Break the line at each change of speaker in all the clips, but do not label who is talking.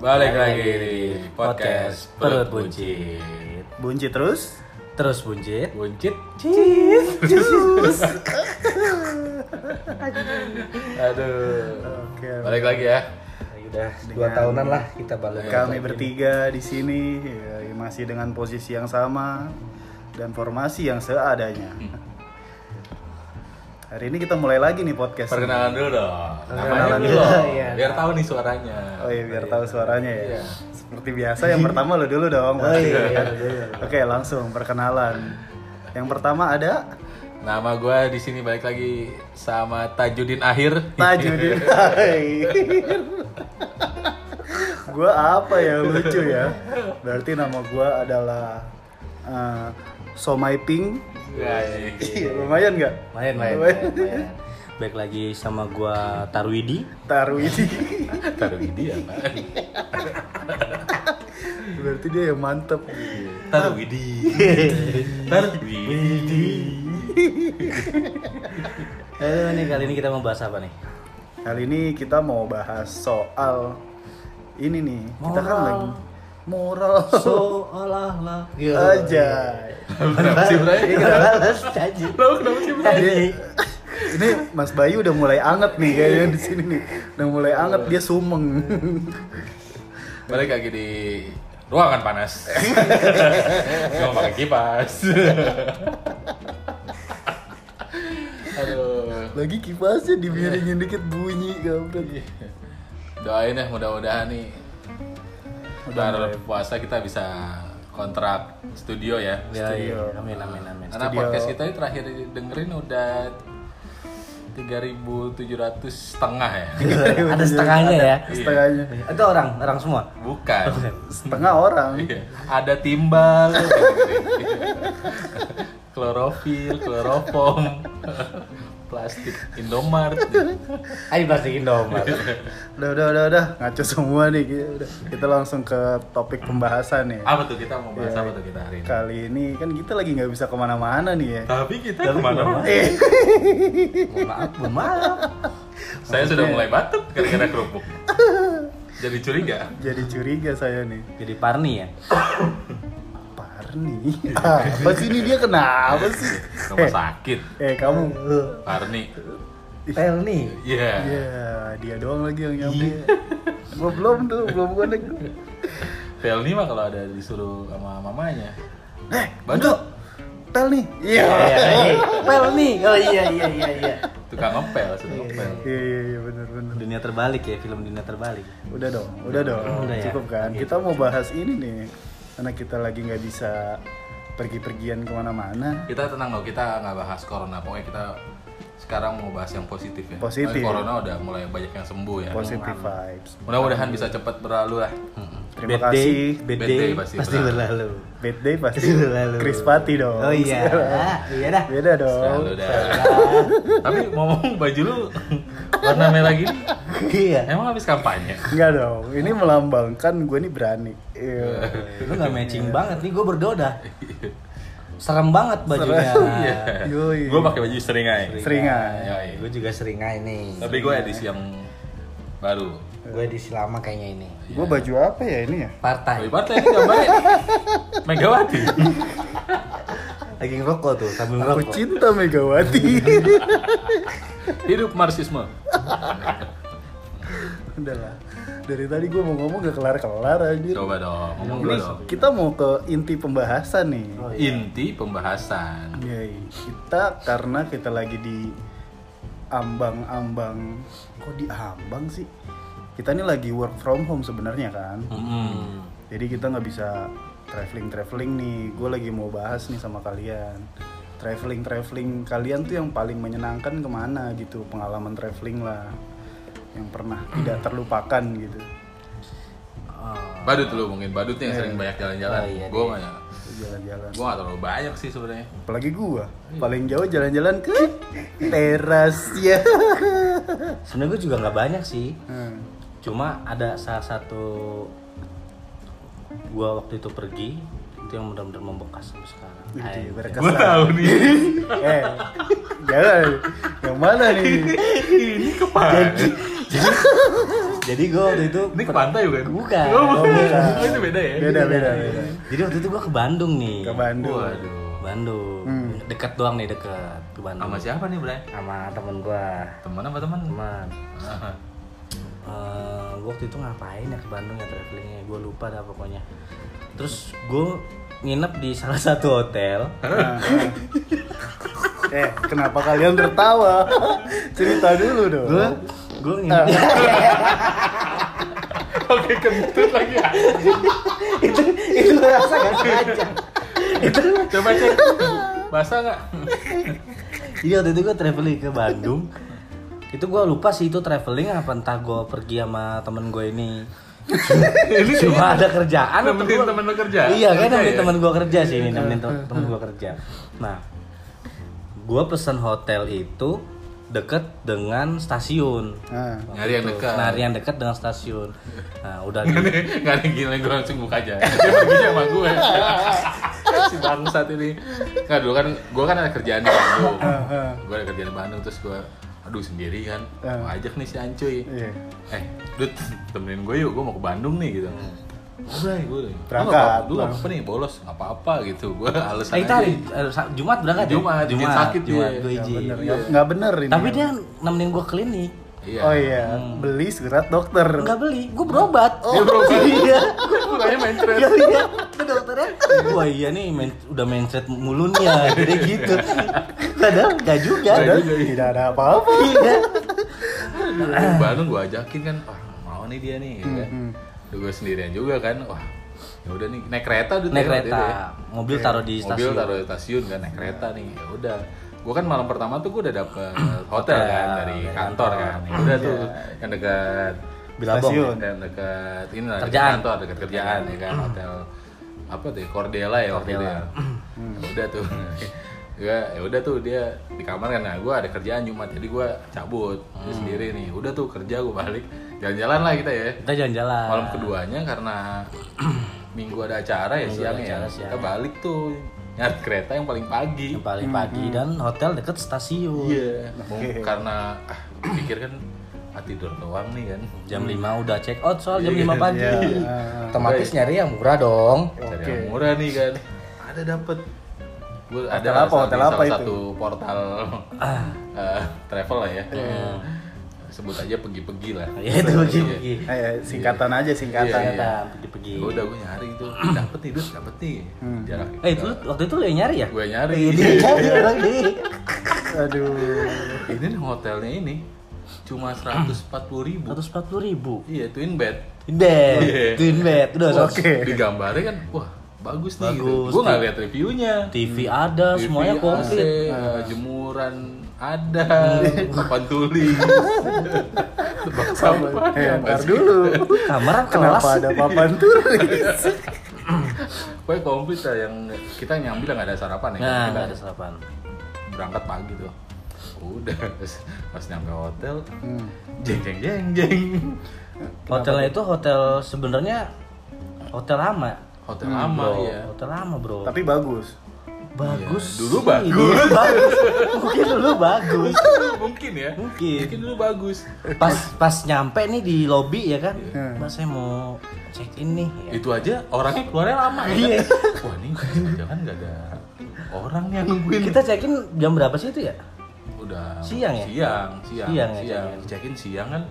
Balik lagi di podcast Perut Buncit
Bunci terus.
Terus buncit.
Buncit?
Cheese. Jus.
Aduh
Oke.
Balik lagi ya
Udah dua
Dengan-
tahunan lah kita balik.
Kami bertiga di sini ya, masih dengan posisi yang sama dan formasi yang seadanya. Hari ini kita mulai lagi nih podcast.
Perkenalan dulu dong Namanya
Perkenalan
dulu
dulu,
dong.
iya.
Biar tahu nih suaranya
Oh iya biar tahu suaranya ya.
Iya.
Seperti biasa yang pertama lo dulu dong.
Oh
pasti.
iya, iya, iya.
Oke langsung perkenalan. Yang pertama ada
Nama gue di sini balik lagi sama Tajudin Akhir
Tajudin. gue apa ya lucu ya? Berarti nama gue adalah eh, Somai Pink. Iya, lumayan nggak?
Main main. main. Baik lagi sama gua Tarwidi.
Tarwidi.
Taruh ini ya
Berarti dia yang mantep.
Taruh ini Taruh ini
Eh nih kali ini kita mau bahas apa nih?
Kali ini kita mau bahas soal ini nih. Kita kan
Moral.
lagi moral
Seolah-olah
aja.
Kenapa sih Bray?
Ini kita balas janji.
Lo kenapa sih Bray?
Ini, ini Mas Bayu udah mulai anget nih kayaknya di sini nih. Udah mulai anget dia sumeng.
Balik lagi di ruangan panas Gak pakai kipas Aduh
Lagi kipasnya dimiringin dikit bunyi
Iya.
kampret.
Doain ya mudah-mudahan nih Ntar puasa kita bisa kontrak studio ya
Ya, iya. Amin amin amin.
Karena
Studio.
podcast kita ini terakhir dengerin udah 3.700 setengah ya
Ada setengahnya ya.
Setengahnya.
Iya.
Itu orang, orang semua.
Bukan
Setengah orang.
Iya. Ada timbal Klorofil, kloroform Plastik Indomart
Ayo plastikin dong, Mas.
Udah, udah, udah, udah. Ngaco semua nih. Kita, udah. kita langsung ke topik pembahasan nih.
Apa tuh kita mau bahas apa tuh kita hari ini?
Kali ini kan kita lagi nggak bisa kemana-mana nih ya.
Tapi Iya. kita kemana-mana
Eh,
Mohon maaf, mohon maaf.
Saya sudah mulai batuk gara-gara kerupuk. Jadi curiga.
jadi curiga saya nih.
Jadi Parni ya.
Parni.
Iya.
Apa sih ini dia kenapa sih?
Rumah sakit.
Eh, kamu.
Parni.
Pelni.
Iya.
Ya, dia doang lagi yang nyampe. Gua belum tuh, belum connect.
Pelni mah kalau ada disuruh sama mamanya.
Eh,
Bantu.
tel nih. Iya.
Iya, iya. Pelni. Oh iya iya iya iya.
Tukang ngepel, sudah ngepel.
Iya, iya, iya, bener, bener.
Dunia terbalik ya, film dunia terbalik.
Udah dong, udah dong,
Udah ya?
cukup kan. Kita mau bahas ini nih, karena kita lagi nggak bisa pergi-pergian kemana-mana.
Kita tenang loh, kita nggak bahas corona. Pokoknya kita sekarang mau bahas yang positif ya.
Positif.
Soalnya corona udah mulai banyak yang sembuh ya.
Positive vibes.
Mudah-mudahan bisa cepat berlalu lah.
Terima
Bad day,
kasih.
Bad
Bad
day,
day pasti
pasti, berlalu.
Bad day pasti
Pasti berlalu.
Krispati dong.
Oh iya. Iya dah.
Beda
Selalu
dong.
dah. Tapi ngomong baju lu warna merah gini,
Iya.
emang habis kampanye?
Enggak dong. Ini melambangkan gue nih berani. Iya.
Lu gak matching banget nih, gue bergoda. Serem banget bajunya.
Iya.
Yoi.
Gue pakai baju seringai.
Seringan.
Yoi.
Gue juga seringai nih.
Tapi gue edisi yang baru.
Gue edisi lama kayaknya ini.
Gue baju apa ya ini ya?
Tapi
Partai.
partai ini gambarnya Megawati.
Lagi ngerokok tuh, sambil
Aku
ngerokok.
cinta Megawati.
Hidup marxisme.
Udah lah. Dari tadi gue mau ngomong gak kelar-kelar anjir.
Coba dong, ngomong dulu
Ini
dong.
kita mau ke inti pembahasan nih.
Oh, iya.
Inti pembahasan.
Iya, iya. kita karena kita lagi di ambang-ambang kok di ambang sih? Kita ini lagi work from home sebenarnya kan.
Mm-mm.
Jadi kita nggak bisa traveling traveling nih. Gue lagi mau bahas nih sama kalian. Traveling traveling kalian tuh yang paling menyenangkan kemana gitu? Pengalaman traveling lah yang pernah tidak terlupakan gitu.
Oh.
Badut lu mungkin, badutnya yang sering banyak jalan-jalan.
Eh, Oh, iya,
gue
iya.
nggak,
Jalan-jalan.
gue nggak terlalu banyak sih sebenarnya.
Apalagi gua paling jauh jalan-jalan ke teras ya.
Sebenarnya gue juga nggak banyak sih.
Hmm.
Cuma ada salah satu gua waktu itu pergi itu yang benar-benar membekas sampai sekarang.
Gitu,
Ay,
berkesan.
Gue tahu nih.
eh jangan yang mana nih
Ini kepala.
Jadi gue waktu itu
Ini ke pantai bukan?
Bukan.
Oh,
bukan.
Oh, itu beda ya?
Beda, beda, beda.
Jadi waktu itu gue ke Bandung nih.
Ke Bandung.
Waduh.
Bandung.
Hmm.
Dekat doang nih dekat ke Bandung.
Sama siapa nih, Bray?
Sama temen gue.
Teman apa teman?
Teman.
Ah,
Eh, gue waktu itu ngapain ya ke Bandung ya travelingnya? Gue lupa dah pokoknya. Terus gue nginep di salah satu hotel.
Nah, nah. eh, kenapa kalian tertawa? Cerita dulu dong.
Gue gue nginep.
Oke, kentut lagi. ya.
itu itu rasa gak sengaja. itu
Coba cek. Basah nggak?
Jadi Iya, waktu itu gue traveling ke Bandung Itu gue lupa sih itu traveling apa entah gue pergi sama temen gue ini Cuma ada kerjaan atau
Nemenin
gua-
temen lu kerja?
Iya kan
Kerja
nemenin
ya?
temen gue kerja sih ini Nemenin tem- temen gue kerja Nah Gue pesan hotel itu deket dengan stasiun
Nah,
Waktu
Nyari yang
itu.
dekat.
Nyari yang dekat dengan stasiun Nah udah di-
Gak ada gila, gue langsung buka aja Dia perginya sama gue Si bangsat ini Nggak, dulu kan, gue kan ada kerjaan di Bandung Gue ada kerjaan di Bandung, terus gue Aduh sendiri kan, mau ajak nih si Ancuy
iya.
Eh, Dut, temenin gue yuk, gue mau ke Bandung nih gitu Udah, gue udah
Iya. Berangkat,
Dulu
bang.
apa nih, bolos, gak apa-apa gitu Gue alasan
Eh itu hari eh, Sa- Jumat berangkat ya?
Jumat, izin sakit dia.
Jumat gue
Ya,
Nggak
izin
bener, nggak- nggak bener ini.
Tapi dia nemenin gue klinik
Iya
Oh iya, beli surat dokter.
Enggak beli, gue berobat.
Dia berobat.
iya.
Bukannya main trend
Iya, iya. Ke dokternya. Wah iya nih main- udah mindset mulu nih ya, jadi gitu. Padahal enggak juga.
Padahal tidak ada apa-apa.
Iya. Eh.
Nah, Bandung gue ajakin kan, wah mau nih dia nih, ya kan? gue sendirian juga kan, wah ya udah nih naik kereta dulu
Naik kereta, ya. mobil taruh di
mobil
stasiun.
taruh di stasiun kan naik kereta nih, ya udah. Gue kan malam pertama tuh gue udah dapet hotel kan dari
dari
kantor kan, Ya udah tuh yang dekat
Stasiun.
yang dekat ini lah dekat
Kerjaan.
kantor, dekat kerjaan ya kan hotel apa tuh ya, Cordela ya waktu itu ya. Ya udah tuh ya ya udah tuh dia di kamar kan nah gue ada kerjaan Jumat jadi gue cabut Dia sendiri nih udah tuh kerja gue balik jalan-jalan lah kita ya
Kita jalan-jalan.
malam keduanya karena minggu ada acara ya siangnya ya
acara
kita balik tuh nyari kereta yang paling pagi
Yang paling pagi dan hotel deket stasiun.
iya Mungkin karena ah, pikir kan ah, tidur doang nih kan
Jam 5 udah check out soal jam 5 pagi.
Iya.
Mm. Otomatis nyari yang murah dong.
cari
Oke.
yang murah nih kan ada dapet gue ada
Hotel apa?
salah-
Hotel apa
salah
itu? Ah.
satu portal eh, travel lah ya
Iya.
sebut aja pergi-pergi lah
Iya itu pergi-pergi.
Eh, singkatan aja singkatan.
Iya,
Ternyata pergi-pergi.
Gua udah gue nyari itu dapet nih dus dapet nih
Hmm.
jarak
Eh itu lu- waktu itu lu yang nyari ya?
gue nyari
Iya.
Nyari orang di.
Aduh.
ini nih hotelnya ini cuma 140.000 ribu
140 ribu.
iya twin bed
Twin bed,
Iya.
twin bed, udah
Oke.
oke.
di gambarnya kan wah bagus nih
Bagus.
gitu gue nggak lihat reviewnya
TV ada,
TV,
semuanya
AC,
komplit. Hmm.
eh, jemuran ada, papan tulis, tempat sampah,
Eh,
apa
ntar
sih?
dulu.
Kamar kelas.
Kenapa ada papan tulis?
Pokoknya komplit lah yang kita nyambil nggak ada sarapan ya.
Nah,
kita
nggak ada sarapan.
berangkat pagi tuh. Udah, terus pas nyampe hotel,
Hmm.
jeng jeng jeng jeng.
Hotelnya itu hotel sebenarnya hotel lama.
Hotel lama
Hmm, Bro,
ya.
Hotel lama, Bro.
Tapi bagus.
bagus.
Iya, dulu
sih,
bagus.
dulu bagus. Mungkin dulu bagus.
Mungkin ya.
Mungkin.
Mungkin dulu bagus.
Pas pas nyampe nih di lobby ya kan.
Iya.
Mbak saya mau check in nih. Ya.
Iya. Itu aja orangnya keluarnya lama ya. kan? Wah ini jangan nggak ada orang yang nungguin.
Kita check in jam berapa sih itu ya?
Udah
Siang ya?
Siang, siang,
Siang
siang.
ya,
Cekin siang kan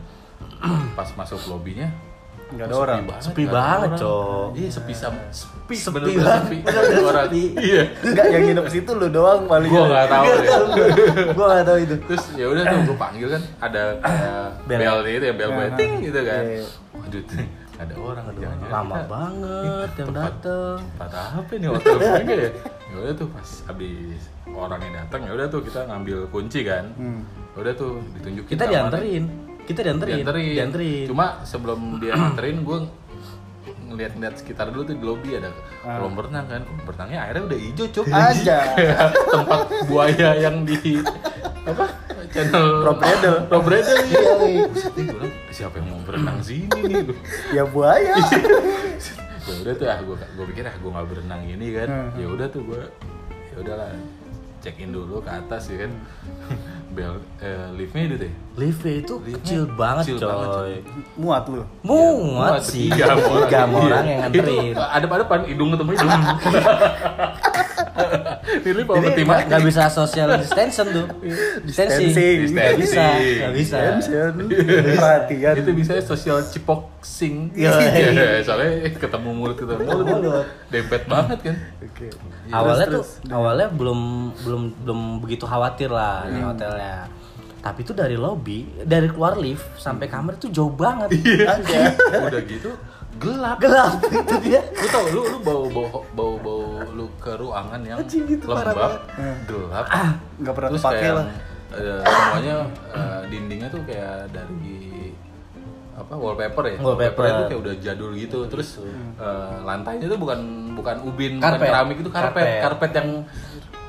pas masuk lobinya oh,
Nggak ada orang.
Sepi
nggak ada
banget,
orang.
Cok.
Iya, sepi sama sepi,
Sepi
bener-bener
banget,
sepi.
bener-bener
Nggak ada orang.
sepi.
Iya.
Enggak yang nginep situ lu doang paling.
Gua nggak tahu. ya. deh.
Gua nggak tahu itu.
Terus ya udah tuh gua panggil kan ada kayak
Bel.
bel itu ya bel gue
Nah,
ting gitu kan.
iya, iya.
Waduh, ting, ada orang jangan-jangan
Lama
Iya, kita- Iya,
banget yang
tempat-
dateng.
tempat apa nih hotel juga ya? Ya udah tuh pas abis orangnya datang ya udah tuh kita ngambil kunci kan. Ya Udah tuh ditunjukin
Kita
kamarnya.
dianterin. Kita dianterin.
dianterin.
Dianterin.
Cuma sebelum dia nganterin gue ngeliat-ngeliat sekitar dulu tuh di lobby ada kolam renang kan. Kolam renangnya airnya udah hijau cuk.
Aja.
Kayak tempat buaya yang di apa? Channel
Rob Riddle.
Rob Riddle, iya. Buset, nih, gua bilang, siapa yang mau berenang sini nih? Gua-
Ya buaya.
Ya udah tuh ah gue gue pikir ah gue nggak berenang ini kan. Ya udah tuh gue ya udahlah check in dulu ke atas ya kan. bel eh, liftnya itu deh
Liftnya itu
Liftnya
kecil banget
kecil
coy.
banget, coy.
muat lu
Muat sih. Tiga
Iya.
orang yang nganterin.
Itu adep-adepan hidung ketemu hidung Ini mau
Jadi
ketimpa
nggak nggak bisa social distancing tuh.
Distancing.
Distancing. Nggak bisa. Nggak
Iya,
bisa.
Tension, perhatian
Itu bisa sosial cipoksing
Iya.
Iya, Soalnya ketemu mulut ketemu mulut kan
Mulut.
Dempet banget kan
oke
awalnya
Terus,
tuh awalnya belum belum belum begitu khawatir lah
Hmm.
di hotelnya tapi tuh dari lobby dari keluar lift sampai kamar itu jauh banget Iya.
Udah gitu Iya. gelap
gelap itu dia
lu tau lu lu bau bau bau bau lu ke ruangan yang
Anjing, itu parah
lembab gelap
Iya. Ah, nggak pernah
terus
kepake
kayak
lah.
eh, semuanya eh, dindingnya tuh kayak dari apa wallpaper ya
Wallpaper.
tuh kayak udah jadul gitu terus eh, lantainya tuh bukan bukan ubin bukan
Karpet.
keramik itu karpet
Karpet.
karpet, yang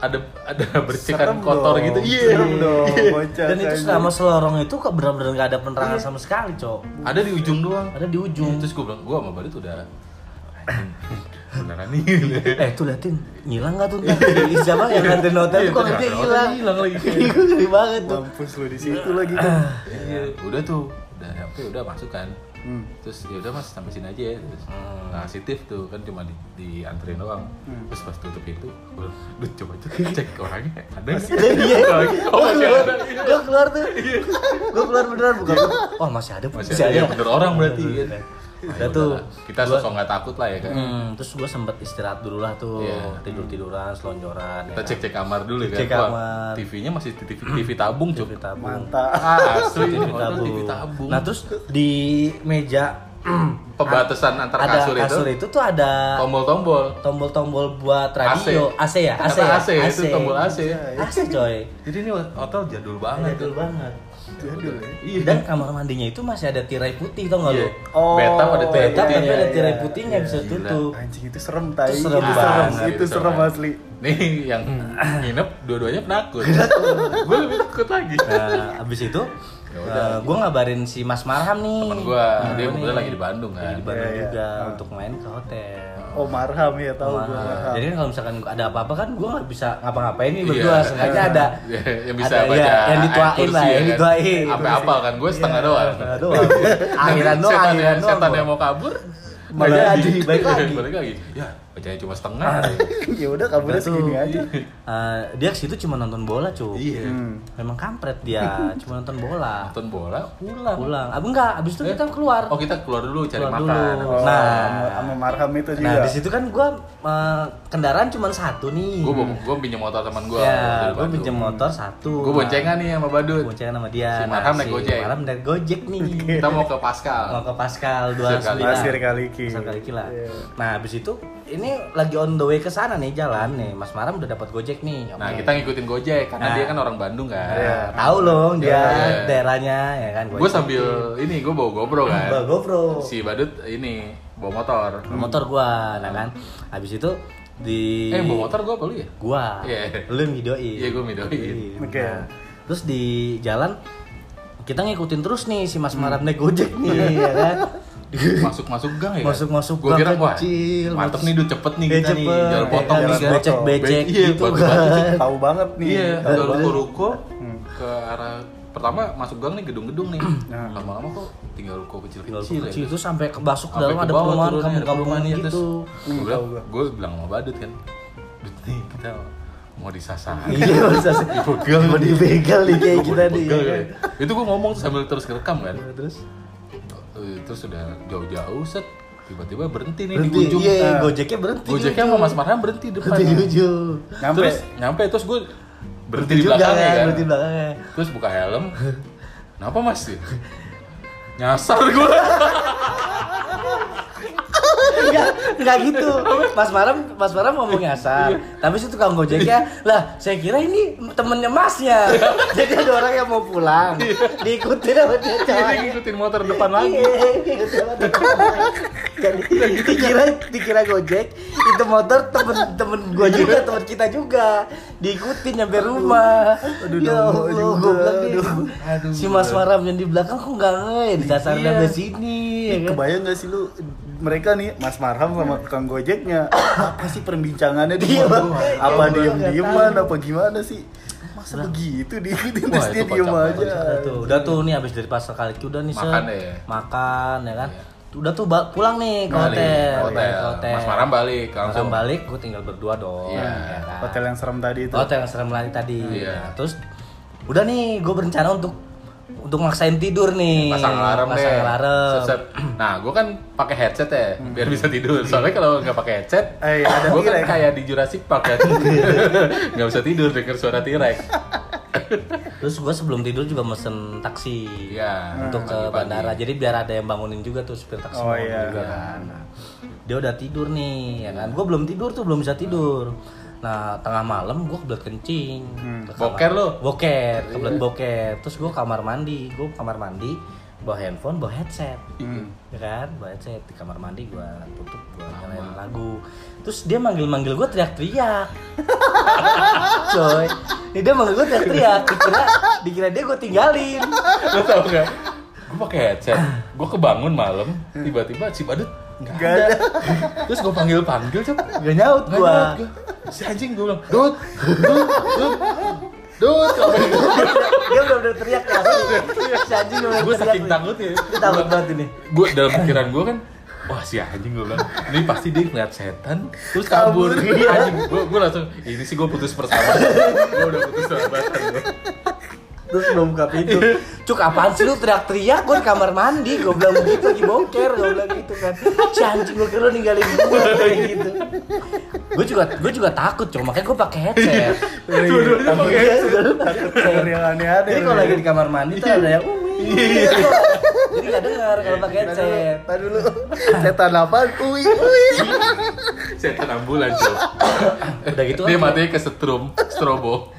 ada ada bercikan
Serem
kotor
dong,
gitu
serem dong
Oh,
bocah
Iya. dan itu
anjing.
selama selorong itu kok benar-benar nggak ada penerangan
Iya.
sama sekali cok
ada di ujung doang
ada di ujung
terus gue bilang gue sama Badut udah anjing, beneran nih
eh tuh liatin ngilang nggak tuh ntar di Java yang nganterin hotel
Iya. Iya,
tuh kok
bener.
dia
Hotel
hilang
hilang lagi.
Gue ngeri banget tuh
mampus lu di situ lagi kan
Iya, udah tuh, udah nyampe, udah masuk kan.
Hmm.
Terus ya udah mas, sampai sini aja ya. Terus, Nah, si Tiff tuh kan cuma di, dianterin doang.
Hmm.
Terus pas tutup pintu, gua, duh coba cek, cek orangnya ada nggak?
Iya.
Orangnya,
Gue
Oh masih
keluar,
ada.
gue keluar tuh. Gue keluar beneran buka. pintu. Oh masih ada,
Iya. Masih ada, ya bener orang berarti. kan. Nah,
Ada
ya
tuh.
udahlah. kita sosok nggak takut lah ya kan.
Hmm, terus gue sempet istirahat dulu lah tuh
Iya.
tidur tiduran selonjoran ya
Kita cek cek kamar dulu kan.
Cek
Wah,
kamar. Hmm.
TV-nya masih di TV, TV tabung cuy.
TV tabung
mantap
Ah, asli
TV
ini hotel
tabung.
TV tabung.
nah terus di meja
Pembatasan
ah, ada
antara kasur,
kasur
itu,
itu tuh ada
tombol-tombol.
tombol-tombol buat radio AC, ya AC
Ternyata
ya
AC, itu tombol AC.
AC coy
Jadi ini hotel jadul banget tuh.
betul banget
jadul ya
Iya.
dan kamar mandinya itu masih ada tirai putih tau nggak
Iya.
lo
Oh,
beta pada tirai
Beta tapi
putihnya.
ada tirai putihnya bisa
iya, Gila.
tutup
anjing itu serem tai
Itu
Iya,
serem
itu
banget.
serem itu serem asli Iya.
Nih yang
Hmm.
nginep dua-duanya penakut. gue lebih takut lagi.
Nah, abis itu gue ngabarin si Mas Marham nih.
Ya Temen gue, dia
Nah, nih.
kebetulan lagi di Bandung kan.
Di Bandung
Iya, iya.
juga untuk main ke hotel.
oh marham ya tahu
Nah,
gua marham
jadi kan kalau misalkan ada apa-apa kan gue nggak bisa ngapa-ngapain nih
Iya.
berdua. Sengaja ada
Iya, yang bisa
ada-
baca
iya, yang
air
dituain lah,
kursi ya
yang
kan.
dituain.
Sampai apal kan, gue setengah doang.
Setengah doang. Akhiran
ya, Setan
doang, akhiran
yang-
doang
Setan ya.
gua.
yang mau kabur,
Malah
nggak
jadi, balik lagi. Ah, iya.
Balik lagi. Ya, bacanya cuma setengah.
ya udah kaburnya
Udah tuh.
segini aja
Eh, dia ke situ cuma nonton bola cuy.
Iya.
Hmm.
Memang kampret dia, cuma nonton bola.
Nonton bola, pulang.
Pulang. Abang enggak, abis itu
Eh?
kita keluar.
Oh kita keluar dulu cari
Keluar
makan.
dulu.
oh,
Nah.
sama- sama marham itu juga
Nah, di situ kan gue kendaraan cuma satu nih.
Gue gue pinjam motor teman gue.
ya, gue pinjam motor satu.
Gue boncengan nih sama Badut.
boncengan sama
Si
dia.
Marham
Nah,
naik Gojek.
Marham naik Gojek nih.
Kita mau ke
Mau
Pascal.
ke Pascal
Sekali.
29.
Pasir kali ki
Pasir kali kila.
Iya.
Nah, habis itu ini lagi on the way ke sana nih jalan nih. Mas Marham udah dapat Gojek nih.
Nah kita ngikutin Gojek karena
Nah. Iya.
dia kan orang Bandung kan.
tahu loh dia
Iya.
daerahnya ya kan
Gue sambil ini gue bawa GoPro kan.
Bawa GoPro.
Si Badut ini bawa motor.
motor gua nah kan. Habis itu di
Eh bawa motor gue apa lu ya?
gua
Iya.
lu yang videoin
Iya, gua videoin.
Oke.
Nah, terus di jalan kita ngikutin terus nih si Mas
Hmm.
Marab naik gojek nih ya kan
Masuk masuk gang ya.
Masuk- masuk
Gue kira
gang
wah
kecil,
mantep
masuk-
nih dude cepet nih
Eh,
kita nih.
cepet,
Jalan
ya
potong
kan,
nih
jalan
kan.
potong.
becek-becek
Iya,
gitu
batu-batu
kan.
sih.
tahu banget nih
Iya.
Tahu
Dari
banget.
ruko
Hmm.
ke arah pertama masuk gang nih gedung-gedung nih. Lama-lama kok tinggal ruko
Nah. tinggal
kecil-kecil.
kecil
ya.
itu sampai ke basuk ke
Sampai
dalam
ke
ada
bawah
perumahan
turunnya, ada
kampung-kampung
perumahannya, terus
gitu
gue bilang,
tahu gua.
gue bilang sama badut kan Dut nih kita mau disasar
iya masa sih
Dibegal.
mau dibegal nih kayak
Gua
kita nih
begal, ya. itu gue ngomong sambil terus ngerekam kan
terus
Eh, terus udah jauh-jauh set tiba-tiba berhenti nih
berhenti
di ujung
iya
Nah,
gojeknya berhenti
gojeknya sama mas Marham berhenti depan
berhenti di ujung
Nyampe.
terus nyampe terus gue berhenti di
juga
belakangnya kan
berhenti di belakangnya
terus buka helm kenapa mas nyasar gue
Enggak, enggak gitu. Mas Maram, Mas Maram ngomong nyasar.
Iya.
Tapi si tukang gojeknya, lah saya kira ini temennya masnya. Jadi ada orang yang mau pulang.
Iya.
Diikutin sama dia
dia
cowoknya.
ngikutin motor depan lagi
Iya, diikutin sama dia cowoknya.
Iya,
Jadi
gitu.
dikira dikira gojek itu motor temen temen gue
Iya.
juga temen kita juga diikutin nyampe rumah
Aduh,
ya
dong,
Allah
juga.
goblak nih.
Aduh.
si Mas Maram yang di belakang kok nggak ngein dasar
Iya.
sampai sini ya kan?
Kebayang gak sih lu mereka nih Mas Marham sama tukang gojeknya apa sih perbincangannya di
Iya,
motor?
makanya.
Apa
Iya,
diem
gua nggak
dieman
tahu.
apa gimana sih? masa begitu diikutin
Wah,
terus
itu
dia diem
kocak banget.
aja
Udah tuh, udah tuh nih habis dari pasar kali udah nih Sen.
Makan ya.
Makan ya kan.
Iya.
Udah tuh ba- pulang nih ke hotel,
Balik, hotel.
Ke hotel.
Mas Maram balik langsung.
Orang balik, gue tinggal berdua dong.
Iya.
ya kan?
hotel yang gitu. serem tadi itu
Hotel yang serem lagi tadi.
Iya.
Nah, terus udah nih gue berencana untuk untuk maksain tidur nih.
pasang alarm
Pasang
deh.
alarm.
Set, set. Nah, gue kan pakai headset ya, biar bisa tidur. Soalnya kalau nggak pakai headset,
Eh, ada
gue kan
tirai.
kayak di Jurassic Park kan, nggak bisa tidur denger suara T-Rex.
Terus gue sebelum tidur juga mesen taksi.
Iya.
Untuk ke
pagi-pagi.
bandara. Jadi biar ada yang bangunin juga tuh supir taksi.
oh
bangun
iya
juga kan. Nah, Dia udah tidur nih, ya kan? Gue belum tidur tuh, belum bisa tidur. Nah, tengah malam gue kebelet kencing.
Hmm.
Ke kamar-
Boker lu? Iya.
Boker, kebelet boker. Terus gue kamar mandi, gue kamar mandi bawa handphone, bawa headset.
Hmm.
Ya kan, bawa headset di kamar mandi gue tutup, gue nyalain lagu. Terus dia manggil-manggil gue teriak-teriak. Coy, ini dia manggil gue teriak-teriak. Dikira, dikira dia gue tinggalin.
Lo tau nggak? Gue pakai headset, gue kebangun malam, tiba-tiba si badut nggak
Nggak
ada. Terus gue panggil panggil cep,
Gak nyaut
Nggak
gue.
jawab gua. Si anjing gue bilang, dut, dut, dut, dut.
dia udah udah teriak ya si anjing udah
Gue
teriak
saking
nih.
takutnya.
Dia takut banget ini
gue dalam pikiran gue kan wah si anjing gue bilang ini pasti dia ngeliat setan terus kabur anjing gue gue langsung ini sih gue putus persahabatan gue udah putus persahabatan gue
terus belum buka pintu cuk apaan sih lu teriak-teriak gue di kamar mandi gue bilang begitu lagi boker gue bilang gitu kan si anjing gue kira lu ninggalin gue kayak gitu gue juga gue juga takut cuma makanya gue pakai headset Iya,
Dua-duanya Iya, pakai headset.
takut denger yang aneh-aneh
jadi kalau lagi di kamar mandi tuh ada yang "Uwi."
Iya.
jadi gak dengar kalau pakai headset
Tar dulu setan apa ui ui
setan ambulan tuh
udah gitu
dia
kan
matanya ke setrum strobo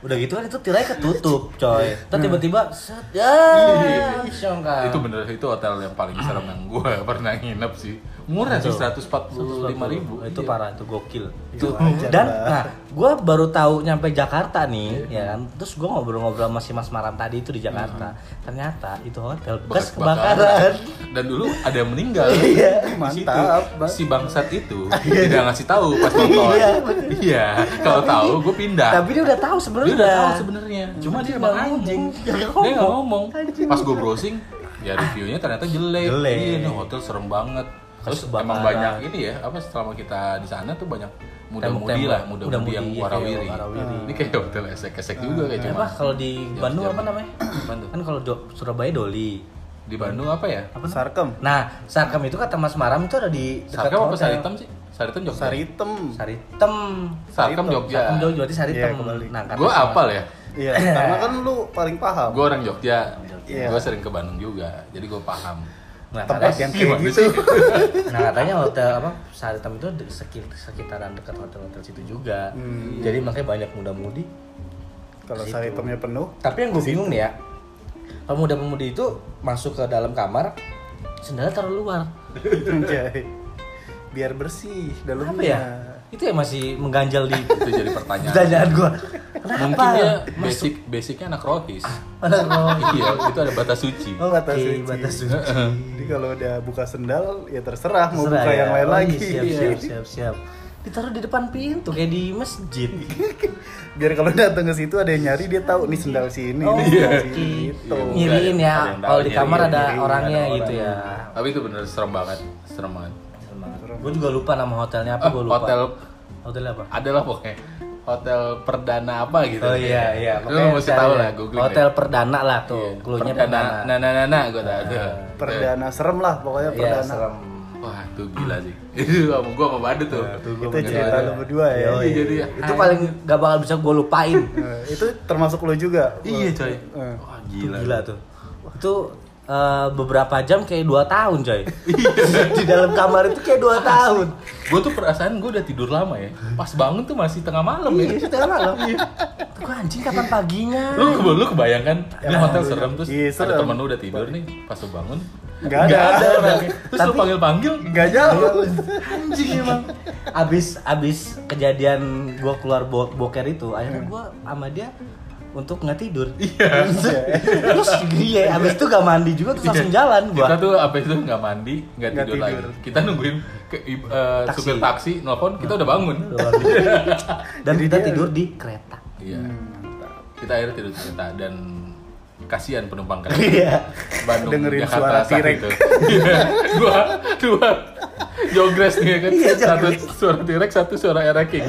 udah gitu kan itu tirai ketutup coy terus tiba-tiba set ya kan. songkak.
Hmm. Iya. itu bener itu hotel yang paling serem yang gue pernah nginep sih murah sih 145 ribu Iya.
itu parah itu gokil itu
Iya. wajar
dan
lah. Iya.
nah gue baru tahu nyampe Jakarta nih ya kan terus gue ngobrol-ngobrol sama si Mas Maram tadi itu di Jakarta
Hmm.
ternyata itu hotel bekas kebakaran
dan dulu ada yang meninggal
Iya,
Di
mantap,
situ.
Bang.
si bangsat itu tidak ngasih tahu pas nonton
Iya,
iya kalau tahu gue pindah
tapi dia udah tahu
dia udah tahu
sebenarnya
sebenarnya cuma dia
nggak
emang anjing
ngomong.
dia nggak ngomong pas gue browsing ya reviewnya ternyata jelek
Jelek.
iya ini hotel serem banget terus
Kebakaran.
emang banyak ini ya apa selama kita di sana tuh banyak muda-mudi
Tembok-tembok.
lah muda-mudi
Muda-mudi,
yang
iya,
warawiri
kayak warawiri.
Ah.
ini kayak hotel esek-esek juga kayak
apa
cuma
kalau di
Jam-
Bandung
jam.
apa namanya
Apaan tuh?
kan kalau do- Surabaya Doli
di Bandung apa ya
apa namanya?
sarkem
nah Sarkem itu kata Mas Maram itu ada di dekat
Sarkem apa
hotel.
Saritem sih Saritem Jogja
saritem
Saritem
Sarkem Jogja
Sarkem jauh berarti Saritem
Iya, kebalik.
nah kata
gue
Mas Maram-
apal ya
iya karena kan lu paling paham
gue orang Jogja
Iya.
gue sering ke Bandung juga jadi gue paham Eh,
nah,
tempat
kata-
yang kayak
Gimana
gitu
sih?
Nah katanya hotel apa Saritem itu de- sekil- sekitaran dekat hotel-hotel situ juga. Jadi makanya banyak muda-mudi.
kalau saritemnya penuh
Tapi yang gue bingung nih ya, pemuda-pemudi itu masuk ke dalam kamar, sendalnya taruh luar.
Anjay. biar bersih dalamnya
Apa ya? Itu ya masih mengganjal di
itu jadi pertanyaan
pertanyaan gue. Kenapa?
mungkin dia basic basicnya anak rohis iya itu ada batas suci
Oh,
batas
oke,
suci.
batas suci.
Jadi kalau udah buka sendal ya terserah mau
Terserah
buka
ya.
yang lain
Oh, iya,
lagi.
Siap, siap, siap, siap. Ditaruh di depan pintu kayak di masjid.
Biar kalau datang ke situ ada yang nyari dia tahu nih sendal si ini.
Oh,
nih sendal
oke.
si ini, gitu.
Iya.
Ngiriin
Ada
ya.
yang
Kalau di
daun,
kamar
ngiriin,
ada
ngiriin,
orangnya
ada
gitu
orang.
ya.
tapi itu bener serem banget serem banget
Gue juga lupa nama hotelnya apa,
Eh,
gue lupa.
hotel.
Hotel apa?
adalah pokoknya hotel perdana apa gitu
Oh iya iya.
lu mesti
cari
tahu
deh.
lah googling
Hotel
deh.
perdana lah tuh.
Iya,
Cluenya
perdana
perdana.
nah nah nah nah gue tahu tuh.
Perdana serem lah pokoknya
Iya,
perdana.
serem.
wah itu gila sih itu sama gue sama Badu tuh
Nah,
Itu cerita lu berdua ya.
Oh,
Iya, jadi
Itu paling gak bakal bisa gue lupain.
Eh, itu termasuk lu juga.
iya coy
Nah.
Eh.
wah
Itu
gila
gila tuh. Itu eh, beberapa jam kayak dua tahun coy di dalam kamar itu kayak dua tahun
gue tuh perasaan gue udah tidur lama ya pas bangun tuh masih tengah malam ya
iya itu tengah malam gue anjing kapan paginya
lu keba- lu kebayangkan ini hotel serem terus
Ya, Iya,
ada
serem.
temen lu udah tidur nih pas lu bangun
Nggak ada.
nggak ada orangnya. terus lu
Tapi-
panggil panggil
Enggak jauh.
anjing emang abis abis kejadian gua keluar bo- boker itu akhirnya gua sama dia untuk nggak tidur iya terus iya abis itu gak mandi juga terus langsung jalan gua
kita tuh apa itu nggak mandi nggak
Nggak
tidur,
tidur.
lagi kita nungguin ke i- eh,
Taksi.
supir taksi nelfon kita udah bangun
dan kita tidur di kereta
iya
Mantap.
kita akhirnya tidur ternyata dan kasihan penumpang kan
Iya.
Bandung
Dengerin
Jakarta
suara
saat
T-Rex.
itu. Iya. dua dua jogres nih ya kan
Iya,
satu
jogres.
suara T-Rex satu suara Era King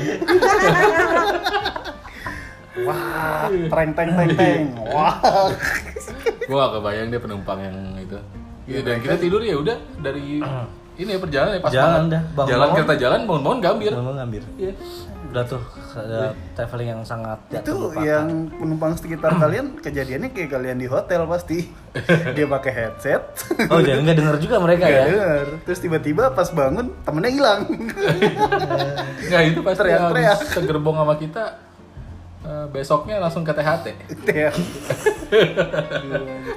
Wah, tereng teng teng teng. Wah.
gua gak kebayang dia penumpang yang itu Iya, dan kita tidur ya udah dari
Ah.
ini ya perjalanan ya pas
Jalan
banget.
dah, bangun
jalan
bangun.
kereta jalan bangun-bangun gambir
Ngomong ngambil.
Iya.
Udah tuh ada traveling yang sangat tidak
Itu
terlupakan.
yang penumpang sekitar kalian kejadiannya kayak kalian di hotel pasti. Dia pakai headset.
Oh, jadi nggak denger juga mereka
Nggak
ya.
denger. Terus tiba-tiba pas bangun temennya hilang.
Nah itu pas
Teriak-teriak.
teriak segerbong sama kita eh, besoknya langsung ke THT.
Ter.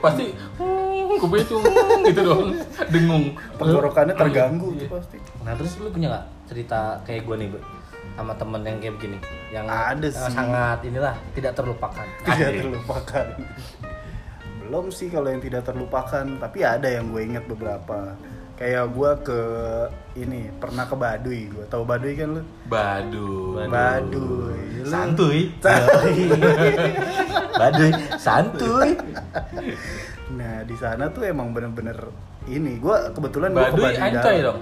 Pasti hmm, kupingnya cung gitu doang, dengung. Iya.
Tenggorokannya terganggu tuh pasti.
Nah, terus lu punya nggak cerita kayak gue nih, Bu? sama temen yang kayak begini yang
Ada
yang
sih.
sangat inilah tidak terlupakan
Tidak Iya, terlupakan. Belum sih kalau yang tidak terlupakan, tapi ada yang gue ingat beberapa. Kayak gue ke ini pernah ke Baduy, gue tahu Baduy kan lu?
Badu.
Baduy. Lu-
santuy baduy santuy
Nah di sana tuh emang bener-bener ini gue kebetulan gue ke
Baduy
Baduy
Ancoy
Dalam.
dong?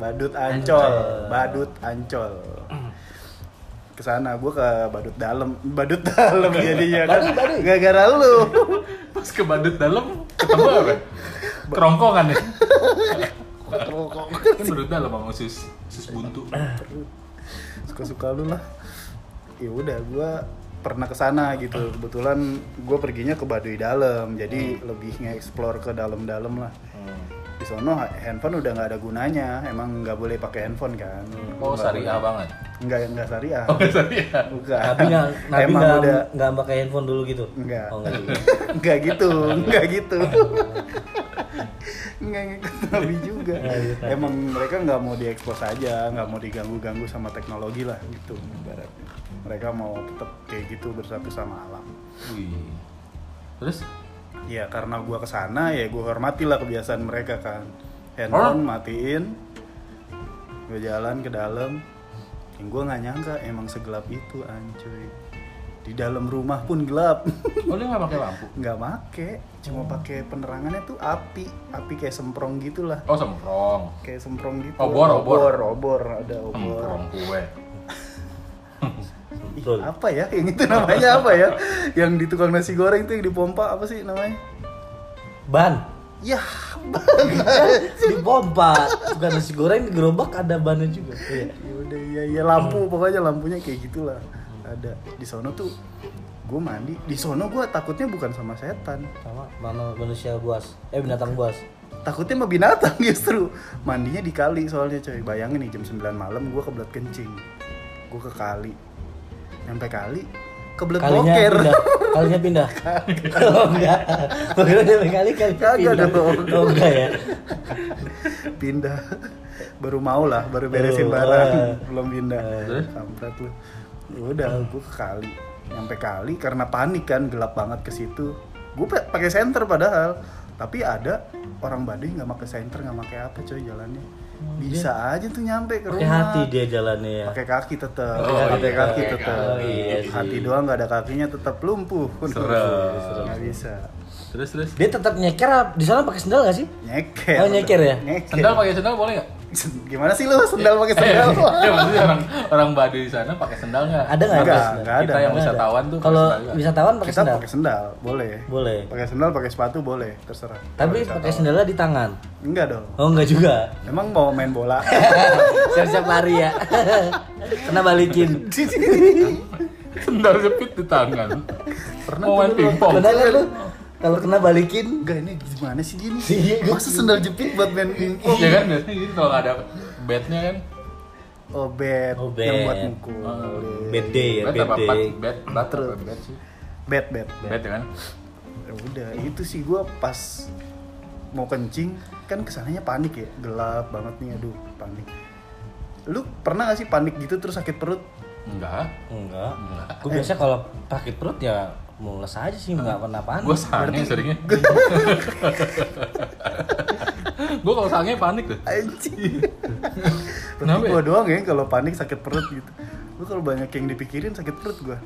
Badut Ancol,
Ancol.
Badut Ancol. Kesana gue ke Badut Dalam, Badut Dalam jadinya kan. Gara-gara lu.
Pas ke badut dalam ketemu apa? Kerongkongan ya. Kan menurut dalam sama sus sus buntu.
Suka-suka lu lah. Ya udah gue pernah kesana gitu kebetulan gue perginya ke Baduy Dalam
Hmm.
jadi lebih nge-explore ke dalam-dalam lah di sono handphone udah nggak ada gunanya emang nggak boleh pakai handphone kan
Oh syariah banget.
nggak nggak syariah
Oh syariah.
bukan
nabi nggak nabi
emang
nggak
udah
nggak pakai handphone dulu gitu
Nggak.
oh nggak juga
nggak gitu nggak gitu
iya.
nggak ngikut nabi juga emang mereka nggak mau diekspos aja nggak mau diganggu ganggu sama teknologi lah gitu ibaratnya mereka mau tetap kayak gitu bersatu sama alam
Wih. Terus
ya karena gua kesana ya gua hormatilah kebiasaan mereka kan handphone matiin gue jalan ke dalam yang gue nggak nyangka emang segelap itu ancuy di dalam rumah pun gelap
oh dia nggak pakai lampu.
nggak make
Hmm.
cuma pakai penerangannya tuh api api kayak semprong gitulah
Oh semprong.
kayak semprong gitu
Obor, obor.
obor obor, ada obor
Semprong kue.
Ih,
Betul.
apa ya yang itu namanya apa ya yang di tukang nasi goreng tuh yang dipompa apa sih namanya
ban
ya
dipompa bukan nasi goreng di gerobak ada bannya juga iya.
Yaudah, ya ya lampu pokoknya lampunya kayak gitulah ada di sono tuh gue mandi di sono gue takutnya bukan sama setan
sama mana manusia buas eh binatang buas
takutnya sama binatang justru mandinya di kali soalnya coy bayangin nih jam 9 malam gue kebelet kencing gue ke kali nyampe kali kebelet
kalinya
boker
pindah kalinya pindah oh enggak Gua kira dia kali kali
Kagak
pindah
dong.
oh enggak ya
pindah baru mau lah baru beresin
Oh,
barang
eh. Hmm.
belum pindah
Terus?
kampret lu Ya udah gue ke kali nyampe kali karena panik kan gelap banget ke situ gue pakai senter padahal tapi ada orang Baduy nggak pakai senter nggak pakai apa coy jalannya bisa aja tuh nyampe ke
Oh, iya. pakai
rumah
hati dia jalannya ya
pakai kaki tetap
Oh, iya,
pakai kaki
pakai
tetap
kaki,
iya sih.
hati doang nggak ada kakinya tetap lumpuh
Serem.
nggak bisa
Terus terus.
dia tetap nyeker apa- di sana pakai sendal gak sih
nyeker
Oh, nyeker ya?
nyeker
Sendal pakai sendal boleh nggak?
gimana sih lu sendal pakai sendal
Ya maksudnya orang orang Baduy di sana pakai sendal nggak?
ada nggak
Enggak,
pakai sendal?
enggak ada.
Kita yang
Nggak ada.
wisatawan tuh pakai
kalau
sendal nggak?
wisatawan pakai
kita
sendal
pakai sendal boleh
boleh
pakai sendal pakai sepatu boleh terserah
tapi
Kalau
pakai
wisatawan.
sendalnya di tangan
enggak dong
oh enggak juga
emang mau main bola
siap-siap lari ya kena balikin
Sendal jepit di tangan.
Pernah
Mau
tuh
main
dulu.
pingpong.
Padahal kan lu kalau kena balikin
enggak ini gimana sih dia
Iya,
nih
gue-
masa sendal jepit buat main pingpong
Iya kan biasanya gitu kalau nggak ada bednya kan.
oh bed
Oh,
yang
bed.
buat mukul Iya.
bad day ya
Bed
bad
apa pat?
day
Bed, butter, bed sih.
bed bed
Bed ya kan.
Ya udah itu sih gue pas mau kencing kan kesananya panik ya gelap banget nih aduh panik lu pernah gak sih panik gitu terus sakit perut
Enggak.
enggak gue biasa kalau sakit perut ya mules aja sih nggak pernah panik
Gue sange seringnya. Gue kalau sange panik tuh.
anjing
Kenapa
Tapi
ya?
gue doang ya kalau panik sakit perut gitu. Gue kalau banyak yang dipikirin sakit perut gue.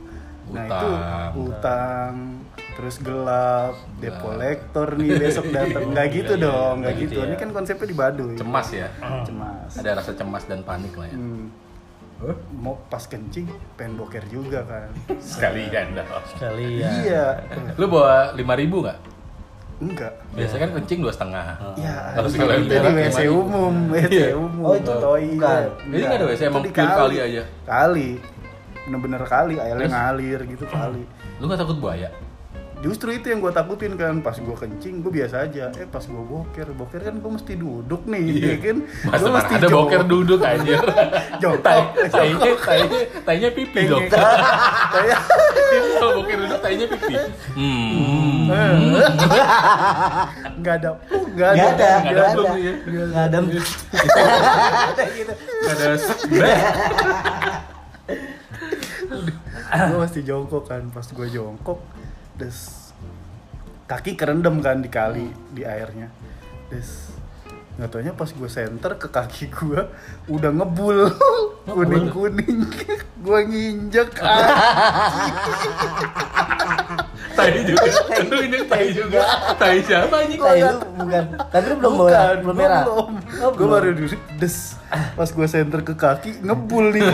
Nah itu
Utang.
utang, terus gelap, debt collector nih besok datang.
Oh,
Nggak gitu
iya,
dong, nggak gitu. Ini kan konsepnya di Baduy.
ya.
Ah.
cemas ya
Cemas.
ada rasa cemas dan panik lah ya
Hmm. Mau pas kencing, pengen boker juga kan.
sekalian dah
Sekali ya.
Iya.
lu bawa lima ribu nggak
Enggak.
biasanya kan kencing dua setengah
Ya,
Ah, Harus
itu
sekalian
itu di
jarak
WC
gimana?
umum, WC
Iya.
umum.
Oh, itu bukan.
toilet.
Jadi nggak ada WC,
Itu
emang
di
pure kali aja?
Kali. Bener-bener kali, airnya ngalir gitu kali.
lu nggak takut buaya
Justru itu yang gue takutin kan pas gue kencing gue biasa aja. Eh pas gue boker, boker kan gue mesti duduk nih, ya kan?
Mas
Gua
mana Iya. ada
jongkok.
boker duduk anjir.
Jongkok.
Tai, tainya,
Jongkok.
tainya, tainya pipi dong.
Pengen- Kayak-
Kalau boker duduk tainya pipi. Hmm.
nggak ada, uh,
Gak
nggak ada,
ada,
Nggak ada
gak ada,
belum, iya.
gak ada. Ada gitu.
Nggak ada sek-
Gue mesti jongkok kan, pas gue jongkok, des kaki kerendam kan di kali di airnya, des nggak taunya pas gue senter ke kaki gue udah ngebul kuning kuning gue nginjek
Tai juga. Lu ini tai juga. Tai siapa anjing?
Tai lu bukan. Tapi lu belum bawa,
Bukan,
belum merah.
belum.
Oh,
Gue
belum.
baru duduk, des. Pas gue senter ke kaki, ngebul nih.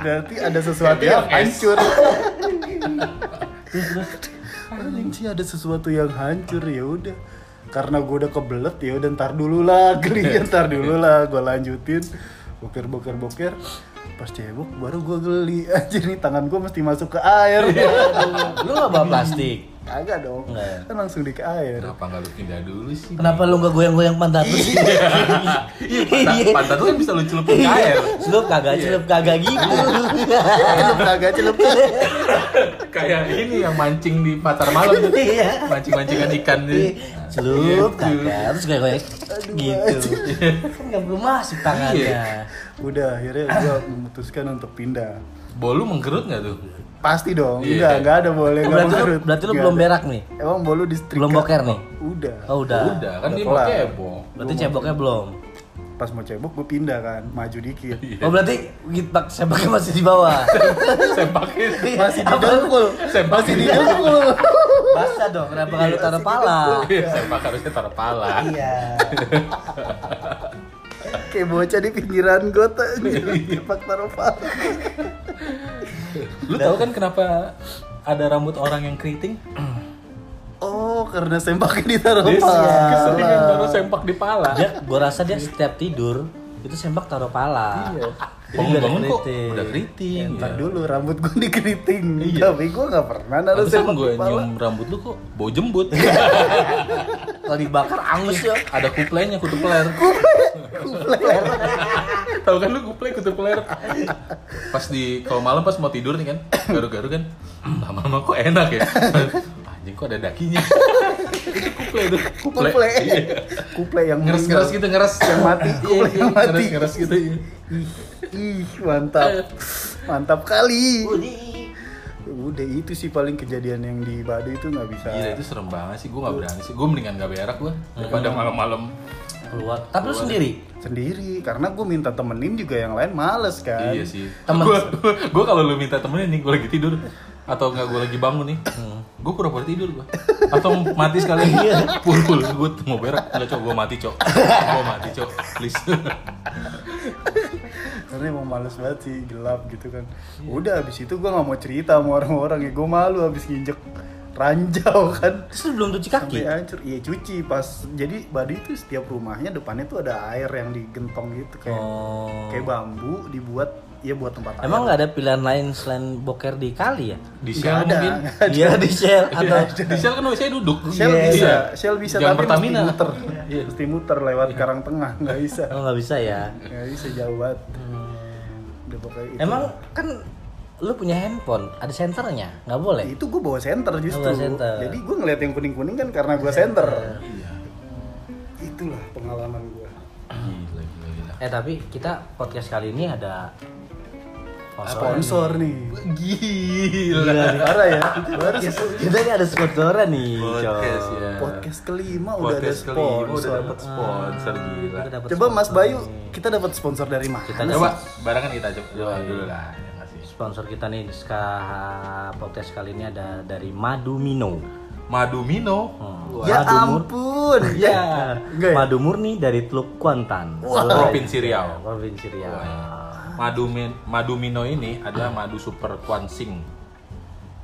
Berarti ada sesuatu
Dia
yang
es.
hancur. Anjing sih ada sesuatu yang hancur ya udah. Karena gue udah kebelet ya udah ntar dulu lah, geli ntar dulu lah. Gue lanjutin, boker boker boker. Pas cebok baru gue geli. Anjir nih tangan gue mesti masuk ke air.
Lu gak bawa plastik.
Kagak
Iya.
dong,
Nggak. ya?
kan langsung di ke air.
Kenapa nggak lu pindah dulu sih?
Kenapa lu gak goyang-goyang pantat lu sih?
Iya, pantat- pantat lu kan bisa lu celupin
Iya.
ke air.
Celup
Iya.
kagak, celup kagak gitu.
Celup kagak celup
Kayak ini yang mancing di pasar malam tuh.
Iya.
Mancing-mancingan ikan Iya, nih.
Celup Iya.
Iya.
kagak, terus goyang-goyang gitu. Kan gak perlu masuk
Iya.
tangannya.
Udah akhirnya gue memutuskan untuk pindah.
Bolu mengkerut nggak tuh?
Pasti dong,
Iya.
enggak, enggak ada boleh enggak
Oh, Berarti lu,
menurut.
berarti lu
Enggak
belum
ada.
berak nih?
Emang bolu di setrika?
Belum boker nih?
kan? Udah.
Oh udah.
Udah, kan
Udah
dia mau
kelar.
kepo.
Berarti ceboknya belum.
Pas mau cebok gue pindah kan, maju dikit.
Iya.
Oh berarti git- pak ceboknya masih di bawah.
Sempakin.
masih didengkul.
Sempakin.
didengkul.
Basah dong, kenapa kalau taruh pala?
Iya, sempak harusnya taruh pala.
Iya.
Kayak bocah di pinggiran got anjir.
Iya.
Tepak taruh pala.
Lu tahu kan kenapa ada rambut orang yang keriting?
Hmm.
Oh, karena sempaknya ditaruh
Dia keseringan
pala.
taruh sempak di pala.
Dia, gue rasa dia setiap tidur itu sembak taruh pala. Iya.
Bangun-bangun Oh, kok udah keriting.
Ntar
ya.
dulu rambut gue dikeriting.
Iya.
Tapi gue nggak pernah naruh
Pantesan
sempak
gue
di pala.
nyium rambut lu kok bau jembut.
Kalau dibakar angus ya.
ada kuplenya kutu peler. Tahu kan lu kuple kutu peler. Pas di kalau malam pas mau tidur nih kan, garu-garu kan. Lama-lama kok enak ya. Anjing kok ada dakinya. Itu kuple tuh.
Kuple.
Iya.
Kuple yang
Ngeres-ngeres gitu, ngeres
Yang mati,
Iya,
kuple
iya,
yang Ah, mati.
Ngeres-ngeres gitu. iya.
Ih, ih, mantap. Mantap kali. Udah itu sih paling kejadian yang di Badu itu nggak bisa.
Gila itu serem banget sih, gue gak berani sih. Gue mendingan gak berak gue daripada malam-malam.
Keluar. Tapi lu sendiri.
sendiri karena gue minta temenin juga yang lain males kan
Iya sih.
Temen.
Gue gue kalau lu minta temenin nih, gue lagi tidur atau nggak gue lagi bangun nih, gue pura-pura tidur gue. Atau mati sekali.
Iya.
Purul, gue mau berak, nggak cok, gue mati cok, gue mati cok, please.
karena emang males banget sih gelap gitu kan udah abis itu gue nggak mau cerita sama orang-orang ya gue malu abis nginjek ranjau kan
Terus lu belum cuci kaki.
sampai hancur iya cuci pas jadi Badu itu setiap rumahnya depannya tuh ada air yang digentong gitu kayak
Oh.
kayak bambu dibuat ya buat tempat air.
Emang nggak ada pilihan lain selain boker di kali ya?
Di shell
ada.
mungkin.
Iya di shell atau
Di shell kan biasanya duduk.
Shell
Iya.
bisa, Shell bisa
Jangan
tapi mesti
Pertamina. Iya.
muter, mesti muter lewat Karang Tengah, nggak bisa,
oh, nggak bisa ya?
nggak bisa jauh banget.
Hmm.
Udah pokoknya itu.
Emang kan lu punya handphone, ada senternya, nggak boleh.
Nah, itu gue bawa senter justru
Oh, bawa senter.
jadi gue ngeliat yang kuning kuning kan karena gue senter
Iya.
itulah pengalaman gue
Gila, gila, gila.
Eh tapi kita podcast kali ini ada
sponsor nih
Gila. Iya.
parah ya baru satu
Kita ini ada sponsoran nih,
Podcast ya.
podcast kelima udah ada
Podcast kali ini
sponsor
udah dapet sponsor gila.
Kita dapat
coba Mas Bayu kita dapat sponsor dari mana
Coba barengan kita coba dulu lah. ya nggak sih?
sponsor kita nih ska podcast kali ini ada dari Madumino.
Madumino. Wah,
Ya
Madu mur-
ampun.
Iya.
Ya,
Enggak ya?
madu murni dari Teluk Kuantan.
Provinsi Riau.
Provinsi Riau.
Madumin, Madumino ini adalah madu super kuansing.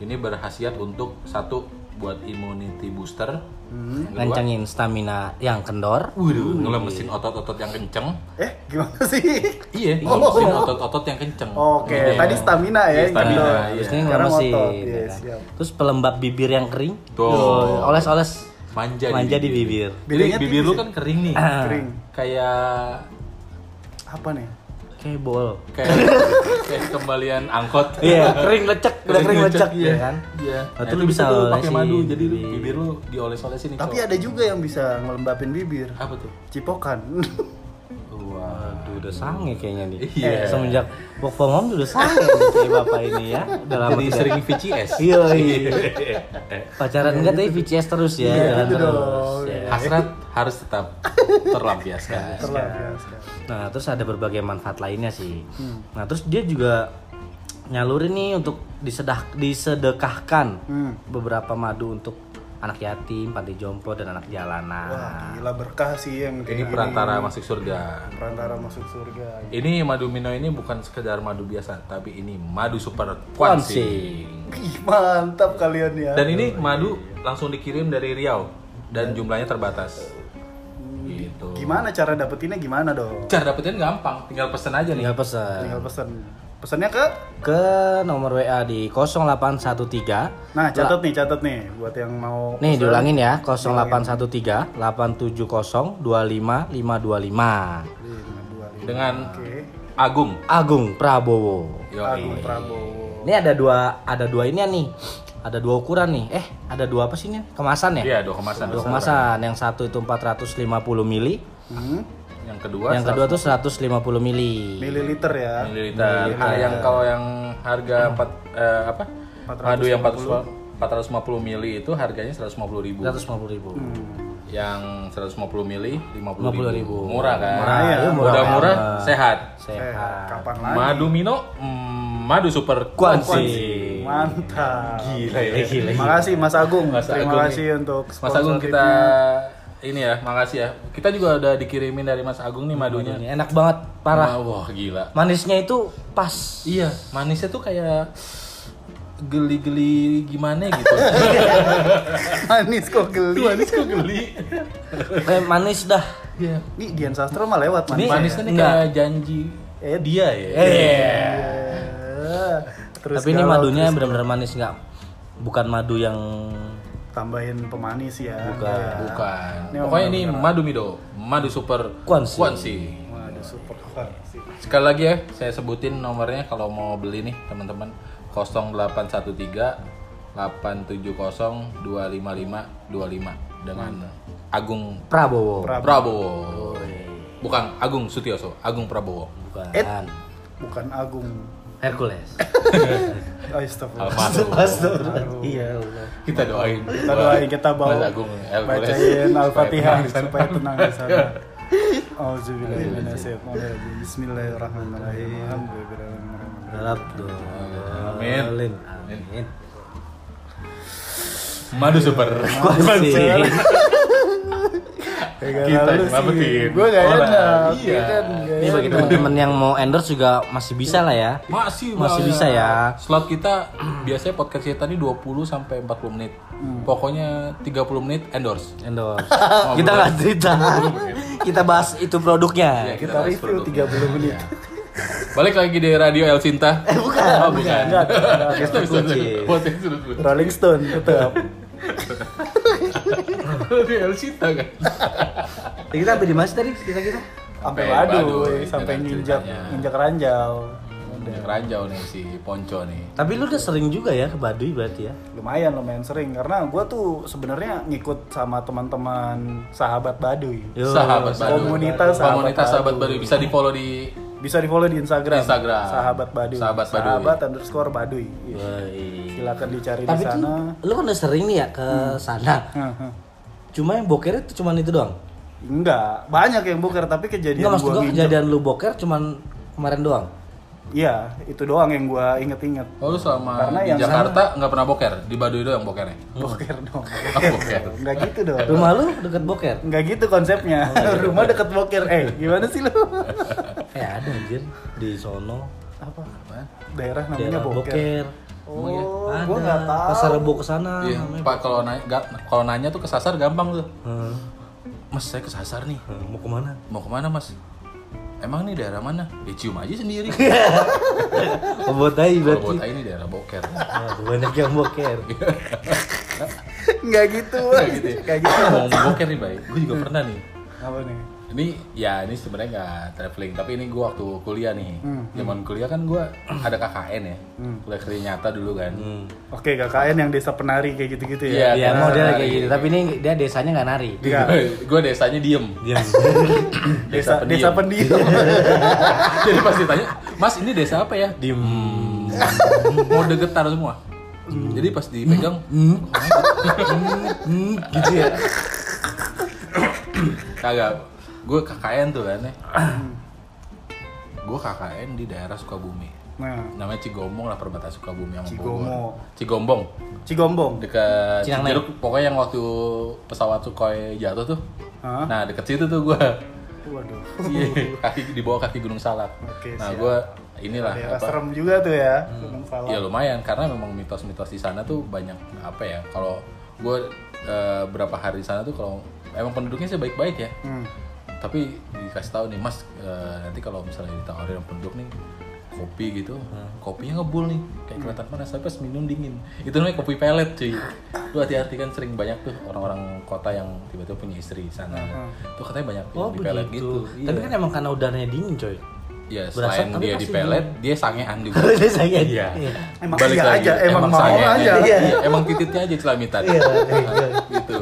Ini berhasiat untuk satu buat immunity booster. Yang kedua,
Ngencengin stamina yang kendor.
Waduh, ngelemesin otot-otot yang kenceng.
Eh, gimana sih?
Iya, ngelemesin otot-otot yang kenceng.
Oke,
Iya.
tadi stamina ya,
Iya, stamina.
kendor.
iya.
Terusnya
Sekarang
ngelemesin.
otot,
ya
iya,
kan?
siap.
Terus pelembab bibir yang kering.
Tuh.
Tuh, Oles-oles
Manja,
manja di bibir.
Jadi
Bedanya
bibir
tipis
lu
ya?
kan kering nih.
Kering.
Kayak
Apa nih?
Kayak bol.
kayak kayak kembalian angkot.
Iya, kering lecek, udah kering lecek
iya.
ya kan.
Iya.
Nah,
Nah, itu
itu lu
bisa
bisa
tuh pakai
olesin
madu, jadi lu-
bibir.
bibir lu dioles-olesin nih.
Tapi
Cok.
ada juga yang bisa ngelembapin bibir.
apa tuh?
Cipokan.
Waduh, udah sange kayaknya nih.
Iya.
Eh, Semenjak work from home udah sange nih kayak bapak ini ya. Udah lama
Jadi
tidak-
sering VCS.
Iya, iya. Pacaran enggak tapi VCS terus ya. jalan
gitu
terus,
dong.
ya.
Hasrat harus tetap
Iya.
terlampiaskan.
Terlampiaskan.
Nah, terus ada berbagai manfaat lainnya sih. Nah, terus dia juga nyalurin nih untuk disedah disedekahkan
Hmm.
beberapa madu untuk anak yatim, panti jompo dan anak jalanan.
Wah, gila berkah sih yang
Ini
kayak gini.
perantara masuk surga.
Perantara masuk surga.
Ini madu mino ini bukan sekedar madu biasa, tapi ini madu super
Kuansing.
kuansing.
Ih, mantap kalian ya.
Dan ini madu langsung dikirim dari Riau dan jumlahnya terbatas. Gitu.
Gimana cara dapetinnya gimana dong?
Cara dapetin gampang, tinggal pesen aja nih.
Tinggal pesan.
Tinggal pesan. Pesannya ke
ke nomor WA di 0813
Nah, catat nih, catat nih buat yang mau
Nih diulangin ya 0813 870 25525
Dengan
Oke.
Agung.
Agung Prabowo.
Yoi.
Agung Prabowo.
Ini ada dua ada dua ini nih. Ada dua ukuran nih. Eh, ada dua apa sih ini? Kemasan ya?
Iya, dua kemasan.
Dua kemasan. Yang satu itu 450 mili,
Hmm,
Yang kedua,
yang kedua tuh 150 mili.
mililiter ya.
mililiter. Ah, yang kalau yang harga empat eh, apa? Madu yang 450 450 mili itu harganya 150.000.
150 ribu.
Yang 150 mili 50.000.
50.000.
Murah kan?
Murah, iya, murah
Udah murah,
banget.
sehat.
Eh,
Sehat.
Ah.
kapan lagi?
Madu Mino, mm, madu super
Kuansi.
Mantap.
Gila ya.
Terima kasih Mas Agung.
Mas
Terima
Agung
kasih untuk
Mas Agung kita ini ya, makasih ya. Kita juga udah dikirimin dari Mas Agung nih madunya.
Ini enak banget, parah.
Wah, wah, gila.
Manisnya itu pas.
Iya, manisnya tuh kayak geli-geli gimana gitu.
sponsornya. manis kok geli.
manis kok geli.
Eh, manis dah.
Iya.
Nih Dian Sastro mah lewat manis. ya?
Manisnya nih
Enggak.
kayak janji.
Eh,
dia ya.
Iya. Eh, Terus
Tapi ini
kalau
madunya benar-benar manis nggak? Bukan madu yang
tambahin pemanis ya.
Bukan.
Ya.
Bukan.
Ini
Pokoknya ini madu Mido, madu super
Kuansi.
Waduh, super keren sih.
Sekali lagi ya, saya sebutin nomornya kalau mau beli nih teman-teman 0813 870 255 25 dengan
Hmm.
Agung
Prabowo.
Pra-
Prabowo. Bukan Agung Sutioso, Agung Prabowo.
Bukan.
Eh. Bukan Agung.
Hercules.
Astagfirullah.
Almarhum.
Iya Allah.
Kita doain.
Kita doain kita bawa
Mas Agung,
Ya,
Hercules.
bacain Al-Fatihah
Supaya tenang.
supaya tenang di sana. Auzubillahi minasyaitonirrajim. Bismillahirrahmanirrahim. Alhamdulillahirrahmanirrahim.
Harap dong.
Amin.
Amin.
Amin. Madu super.
Kuansi.
Kita
Kita
nyelamatin
Gue gak
orang.
enak.
Iya.
Iya kan, gak
Ini bagi
enak.
teman-teman yang mau endorse juga masih bisa lah ya.
Masih
Masih
Bang.
bisa ya.
Slot kita biasanya podcast kita ini 20 sampai 40 menit.
Hmm.
Pokoknya 30 menit endorse.
Endorse. Kita nggak cerita. Kita bahas itu
Iya,
produknya.
Nah, Kita review 30
Iya.
menit.
Balik lagi di Radio El Cinta. Eh bukan. Oh, bukan.
Enggak, enggak.
Kita bisa
Kucing.
podcast terus.
Rolling Stone tetap.
Radio El Cinta kan.
Kita sampai di mana tadi kita kita?
Sampai
Baduy,
baduy, sampai
dengan
nginjak
ceritanya.
nginjak ranjau.
Yang ranjau nih si Ponco nih.
Tapi lu udah sering juga ya ke Baduy berarti ya?
Lumayan lumayan sering karena gue tuh sebenarnya ngikut sama teman-teman sahabat baduy.
Yo.
Sahabat Baduy.
Komunitas sahabat
Komunitas sahabat
Baduy.
Baduy bisa di follow di
Bisa di follow di Instagram.
Instagram.
Sahabat baduy.
Sahabat Baduy.
Sahabat underscore baduy. Iya.
Yoi.
Silakan dicari
Tapi
di
tuh,
sana.
lu kan udah sering nih ya ke sana.
Hah, hah.
Cuma yang bokernya tuh cuman itu doang.
Enggak, banyak yang boker tapi kejadian
Enggak maksud
gua gitu.
gua
nginjek.
kejadian lu boker cuman kemarin doang.
Iya, itu doang yang gue inget-inget.
Oh, lu selama
Karena
di
yang
Jakarta nggak pernah boker? Di Baduy doang bokernya?
Boker dong.
Boker.
Nggak gitu dong.
Rumah lu deket boker?
Nggak gitu konsepnya.
Oh, iya.
Rumah deket boker. Eh, gimana sih lu?
Eh ada anjir di sono
Apa?
Apaan?
Daerah namanya
daerah
boker.
boker.
Oh,
Ada
gue nggak tahu.
pasar rebo ke sana
Iya,
namanya.
Pak kalau nanya, ga- kalau nanya tuh kesasar gampang tuh.
Hmm,
Mas, saya kesasar nih.
hmm, mau kemana?
Mau kemana, Mas? Emang nih daerah mana? Ya cium aja sendiri.
Obotai
kalau
berarti.
buat ini daerah boker.
Ah, banyak yang boker.
Nggak gitu.
Kayak gitu. ya.
Nggak gitu.
Ngomong boker nih, Bay. Gue juga pernah nih.
Apa nih?
Ini ya ini sebenarnya nggak traveling, tapi ini gue waktu kuliah nih. Zaman kuliah kan gue ada KKN ya. Kuliah kerja nyata dulu kan.
Hmm.
Oke, KKN yang desa penari kayak gitu-gitu
Iya,
ya.
Iya
nah,
model
nah,
kayak
iya.
gitu. Tapi ini dia desanya nggak nari.
Iya.
gue desanya diem.
Dia
Desa desa pendiam.
Jadi pasti tanya, Mas ini desa apa ya?
diem.
Mode getar semua. Jadi pas dipegang, Mm,
gitu ya.
kagak. Gue KKN tuh kan ya. Gue KKN di daerah Sukabumi.
Nah,
Namanya Cigombong lah perbatasan Sukabumi sama
Cigomo.
Bogor. Cigombong.
Cigombong.
Dekat
Cinangnai.
Cijeruk, pokoknya yang waktu pesawat Sukhoi jatuh tuh.
Hah?
Nah, deket situ tuh gue.
Waduh.
Iya, kaki di bawah kaki Gunung Salak.
Oke,
nah,
siap.
gue inilah
Daerah
apa,
serem juga tuh ya. Gunung Salak.
Ya lumayan karena memang mitos-mitos di sana tuh banyak apa ya? Kalau gue berapa hari di sana tuh kalau emang penduduknya sih baik-baik ya.
Hmm.
Tapi dikasih tahu nih Mas eh, nanti kalau misalnya ditawarin sama penduduk nih kopi gitu,
Hmm.
kopinya ngebul nih kayak
Hmm.
kelihatan panas tapi pas minum dingin. Itu namanya kopi pelet cuy. Lu hati-hati kan sering banyak tuh orang-orang kota yang tiba-tiba punya istri di sana.
Hmm.
Tuh katanya banyak yang
Oh
di pelet gitu.
begitu. Tapi
Iya.
kan emang karena udaranya dingin coy.
ya,
berasa
selain
tapi
dia
pasti
di pelet, dia sangean juga.
Desanya
Iya.
Iya.
Emang iya aja, emang mau
sangeannya.
aja.
Iya, emang titiknya aja celamitan.
Iya,
Nah, gitu.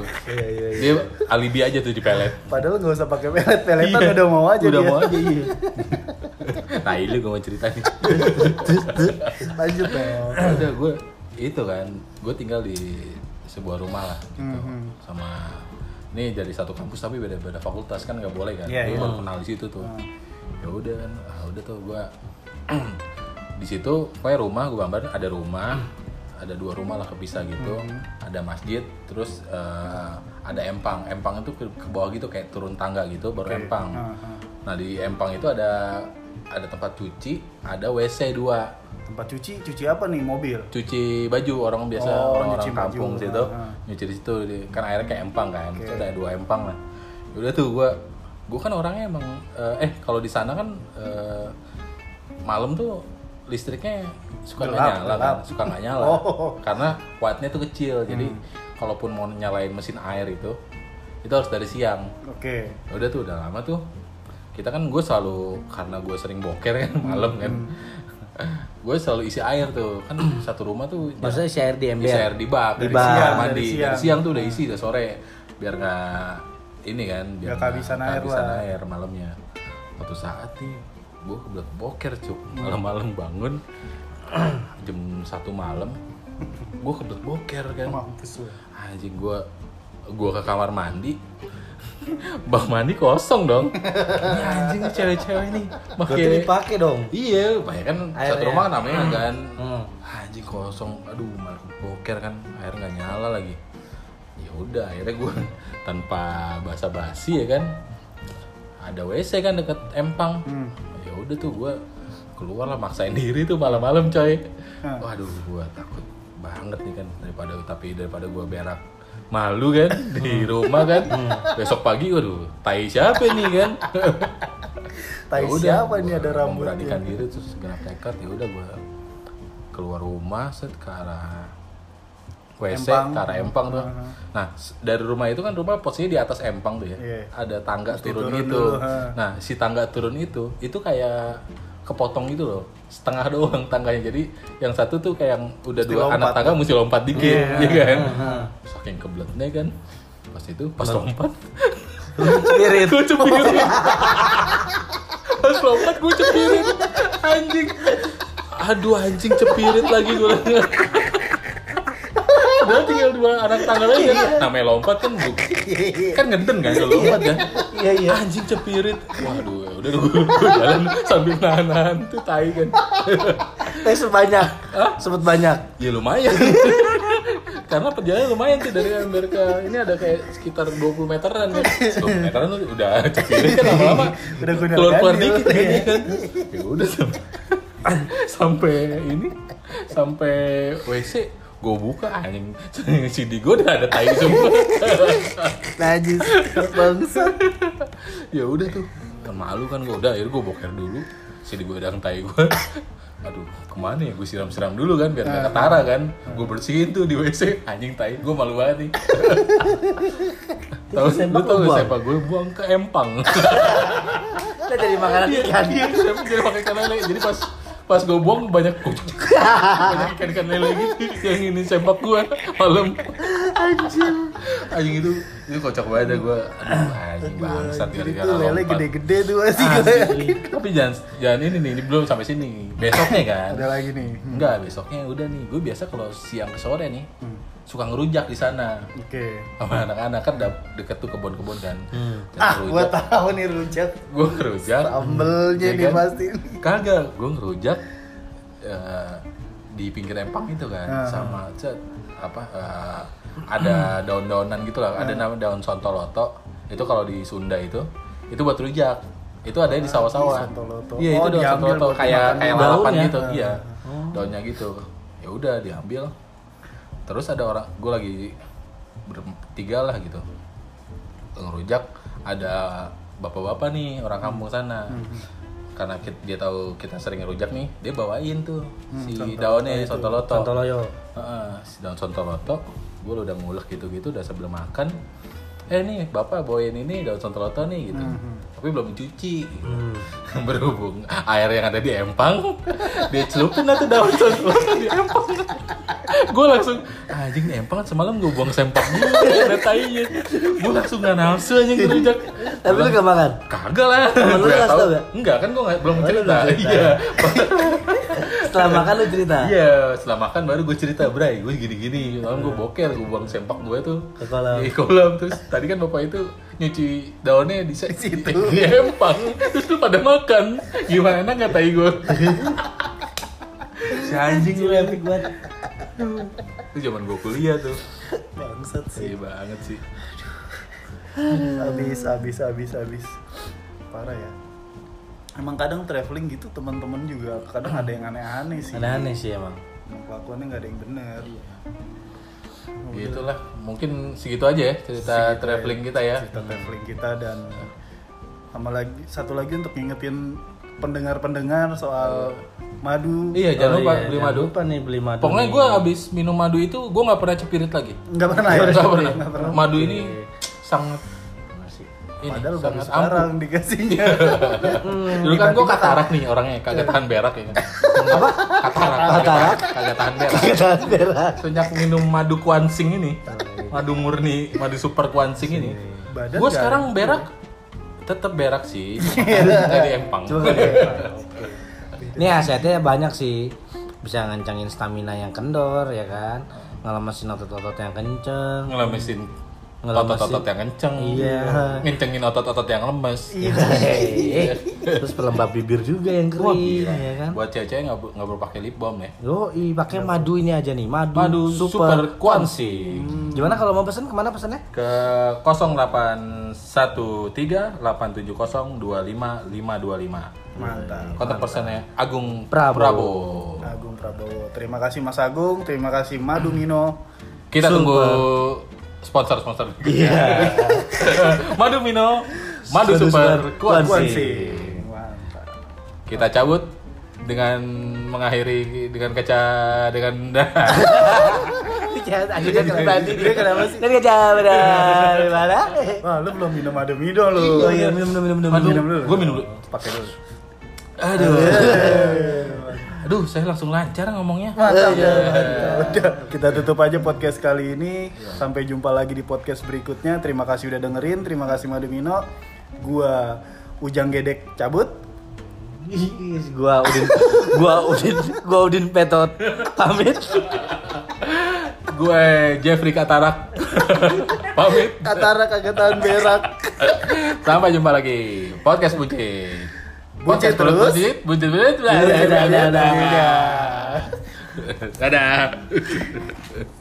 Dia alibi aja tuh di pelet.
Padahal nggak usah pakai pelet, peletan udah mau aja
Iya, Udah
dia.
mau aja iya. nah, ini gue mau cerita nih.
Lanjut dong.
Udah gue Oh, itu kan, gue tinggal di sebuah rumah lah gitu.
Mm-hmm.
Sama ini dari satu kampus tapi beda-beda fakultas kan nggak boleh kan.
Iya,
Gue
iya.
baru kenal di situ tuh. Ya udah kan, ah, udah tuh gue di situ kayak rumah gue gambar ada rumah ada dua rumah lah kepisah gitu
Mm-hmm.
ada masjid terus eh, ada empang empang itu ke, ke bawah gitu kayak turun tangga gitu baru empang
Ah, ah.
nah di empang itu ada ada tempat cuci ada wc dua
Tempat cuci, cuci apa nih? Mobil.
cuci baju orang biasa
Oh,
orang-orang
nyuci baju.
kampung situ
Ah.
nyuci di situ di- kan airnya kayak empang kan Terus ada dua empang lah Ya udah tuh gua gua kan orangnya emang eh, eh kalau di sana kan eh, malam tuh listriknya suka nggak
Gelap,
nyala kan
gelap.
suka nggak nyala
Oh. Hmm.
karena kuatnya tuh kecil jadi kalaupun mau nyalain mesin air itu itu harus dari siang
Oke.
Ya udah tuh udah lama tuh kita kan gue selalu karena gue sering boker kan malam kan
Hmm.
gue selalu isi air tuh kan satu rumah tuh
Maksudnya si air di ember.
isi Iya, air di bak
Dari
di bak
siang,
mandi
dari
dari
siang. Hmm.
siang. tuh udah isi udah sore biar nggak ini kan biar
Nggak kehabisan air
kehabisan
lah.
air malamnya suatu saat nih gue kebelet boker cuk malam-malam bangun jam satu malam gue kebelet boker kan
Mampus lu.
anjing gua gua ke kamar mandi bang mandi kosong dong ini anjing nih cewek-cewek nih
Berarti
pakai
dipakai dong.
iya banyak kan
Airnya.
satu rumah namanya kan
ya. Hmm.
anjing kosong aduh malah boker kan air nggak nyala lagi ya udah akhirnya gua tanpa basa-basi ya kan ada wc kan deket empang
Hmm.
ya udah tuh gua keluar lah maksain diri tuh malam-malam coy
Hmm.
waduh gua takut banget nih kan daripada tapi daripada gua berak malu kan
Hmm.
di rumah kan besok pagi waduh tai siapa nih kan
Tai
Ya udah,
siapa
gua
nih ada rambutnya?
memberanikan diri terus genap tekad ya udah gua keluar rumah set ke arah WC
Empang.
ke arah empang tuh. Nah, s- dari rumah itu kan rumah posisinya di atas empang tuh ya.
Iya.
Ada tangga turun,
turun
gitu.
dulu, ha.
Nah, si tangga turun itu itu kayak kepotong gitu loh. Setengah doang tangganya. Jadi yang satu tuh kayak yang udah
Mesti
dua anak
lompat.
tangga mesti lompat dikit,
Iya.
ya kan? Saking kebeletnya kan. Pas itu pas lompat Iya,
Spirit.
gue cepirin pas lompat gue cepirin anjing aduh anjing cepirit lagi gue Padahal tinggal dua anak tangga aja.
Iya.
Namanya lompat kan bu, kan ngeden kan kalau lompat kan.
Iya iya.
Anjing cepirit. Waduh, ya udah gue jalan sambil nahan-nahan tuh tai kan.
Tapi Eh, sebanyak. Sebut banyak.
Ya lumayan. Karena perjalanan lumayan tuh dari Amber ke ini ada kayak sekitar 20 meteran kan. 20 meteran tuh udah cepirit kan lama-lama.
Udah gua udah
keluar-keluar
ganjil.
dikit kan. Ya udah sampai sampai ini sampai WC gue buka anjing CD gue udah ada tai semua
Nah,
Najis bangsat.
ya udah tuh kan malu kan gue udah akhirnya gue boker dulu sini gue dang tai gue aduh kemana ya gue siram-siram dulu kan biar gak ketara kan gue bersihin tuh di WC anjing tai gue malu banget nih tahu
Terus
lu
sempak
tau
lu
gak
buang?
siapa gue buang ke empang
Kita dari makanan ikan.
Iya, siapa jadi pakai ikan lele jadi pas pas gue buang banyak banyak ikan-ikan lele gitu yang ini sempak gue malam
Anjir.
anjing itu itu kocak banget gue aduh anjing bangsat
Itu
gara-gara
Gitu, lele
lompat. Ah.
gede-gede tuh masih gue
Asli. Tapi jangan jangan ini nih, ini belum sampai sini. Besoknya kan.
Ada lagi nih. Hmm.
Enggak, besoknya udah nih. Gue biasa kalau siang ke sore nih suka ngerujak di sana
Oke.
sama anak-anak kan dap- deket tuh kebun-kebun kan. Terus
Hmm. Ah, gua
ngerujak.
tahu nih rujak.
Gue ngerujak.
Sambelnya
ya
nih
kan?
pasti.
Kagak, gue ngerujak eh, di pinggir empang itu kan
Ah.
sama cet, apa eh, ada daun-daunan gitu lah.
Ah.
Ada nama daun sontoloto. Itu kalau di Sunda itu itu buat rujak. Itu ada di sawah-sawah.
Ah, sontoloto.
Iya, itu
Oh,
daun
diambil
sontoloto
buat
kayak
dimakan
kayak
daunnya.
lalapan gitu.
Ah.
Iya.
Oh.
Daunnya gitu. Ya udah diambil. Terus ada orang gue lagi bertiga lah gitu. Ngerujak ada bapak-bapak nih orang kampung sana. Karena kit- dia tahu kita sering ngerujak nih, dia bawain tuh si daunnya sontoloto.
Sontoloyo.
Heeh, si daun sontoloto gue udah ngulek gitu-gitu udah sebelum makan eh nih bapak bawain ini daun sontoloto nih gitu
Mhm.
tapi belum dicuci gitu.
Hmm.
berhubung air yang ada di empang dia celupin lah tuh daun sontoloto di empang gue langsung anjing nih empang semalam gue buang sempak dulu ada tainya gue langsung nggak nafsu aja ngerujak
Tapi lu gak makan.
kagak lah
Temen
Gua
lu ngasih
tahu.
tau nggak? Oh,
enggak kan gue belum
lu
cerita
belum cerita.
iya
Setelah makan lu cerita.
Iya, setelah makan baru gue cerita, Bray, gue gini-gini. Lalu gue boker, gue buang sempak gue tuh.
Ke kolam.
Di kolam. Terus tadi kan bapak itu nyuci daunnya di se- Di empang. Terus lu pada makan. Gimana nggak tai gue? si anjing lu epic.
Anjing banget.
Itu zaman gue kuliah tuh.
Bangsat sih.
Sedih banget sih.
Abis, abis, abis, abis. Parah ya. Emang kadang traveling gitu teman-teman juga kadang ada yang aneh-aneh sih.
Aneh-aneh sih emang.
Yang Kelakuannya nggak ada yang bener.
Iya. Ya itulah, mungkin segitu aja ya cerita traveling kita ya.
cerita traveling kita dan sama lagi satu lagi untuk ngingetin pendengar-pendengar soal madu
Iya, jangan
Oh
lupa
iya,
beli
jangan
madu.
lupa nih beli madu.
Pokoknya
nih.
gue abis minum madu itu, gue nggak pernah cepirit lagi.
nggak pernah ya
Nggak pernah.
Nggak
Madu ini sangat
Masih.
ini
padahal baru
sangat ampuh.
sekarang dikasihnya
Iya.
Dulu kan gue katarak nih orangnya, kagak tahan berak ya. Apa? Katarak.
Katarak?
Kagak tahan berak.
Ketan merah.
Sejak minum madu kuansing
Oh, iya.
ini, madu murni, madu super kuansing ini,
Badan
gue
nggak-
sekarang berak tetap berak sih,
Iya.
nggak di empang.
Cuma kayak- Ini asetnya banyak sih. Bisa ngancangin stamina yang kendor ya kan. Ngelemasin otot-otot yang kenceng.
Ngelemesin
Ngelemesin.
otot-otot yang kenceng,
Iya.
ngencengin otot-otot yang lemes.
Hehehe. Terus pelembab bibir juga yang
Wah,
kering
gila.
ya kan.
Buat cewek-cewek nggak bu- nggak perlu pakai lip balm ya.
Yoi, pakai madu ini aja nih, madu,
Madu
super.
super kuansing.
Gimana kalau mau pesen kemana pesennya?
ke 0813-870-25525
mantap
kontak personnya Agung
Prabowo.
Prabowo.
Agung Prabowo terima kasih Mas Agung terima kasih Madu Mino
kita tunggu sponsor-sponsor iya Madu Mino Madu
Madu
Super
Super
Kuansi
Kuansing. mantap
kita cabut dengan mengakhiri dengan kaca dengan
Akhirnya Ya, kenapa tadi dia kenapa sih? Tadi aja benar. Gimana?
wah lu belum minum Madu Mino lu
Oh iya, minum minum minum minum.
Aduh,
Minum dulu.
gue minum dulu
pakai dulu
aduh aduh saya langsung lancar ngomongnya
Udah, kita tutup aja podcast kali ini. Sampai jumpa lagi di podcast berikutnya. Terima kasih udah dengerin. Terima kasih Madu Mino. Gua Ujang Gedek cabut.
Ih, gua Udin, gua Udin, gua Udin Petot pamit.
gue Jeffrey Katarak pamit
Katara kagak tahan berak.
sampai jumpa lagi podcast bucin
Bucin
perut
terus.
bucin bucin bucin
Dadah, dadah, dadah.
dadah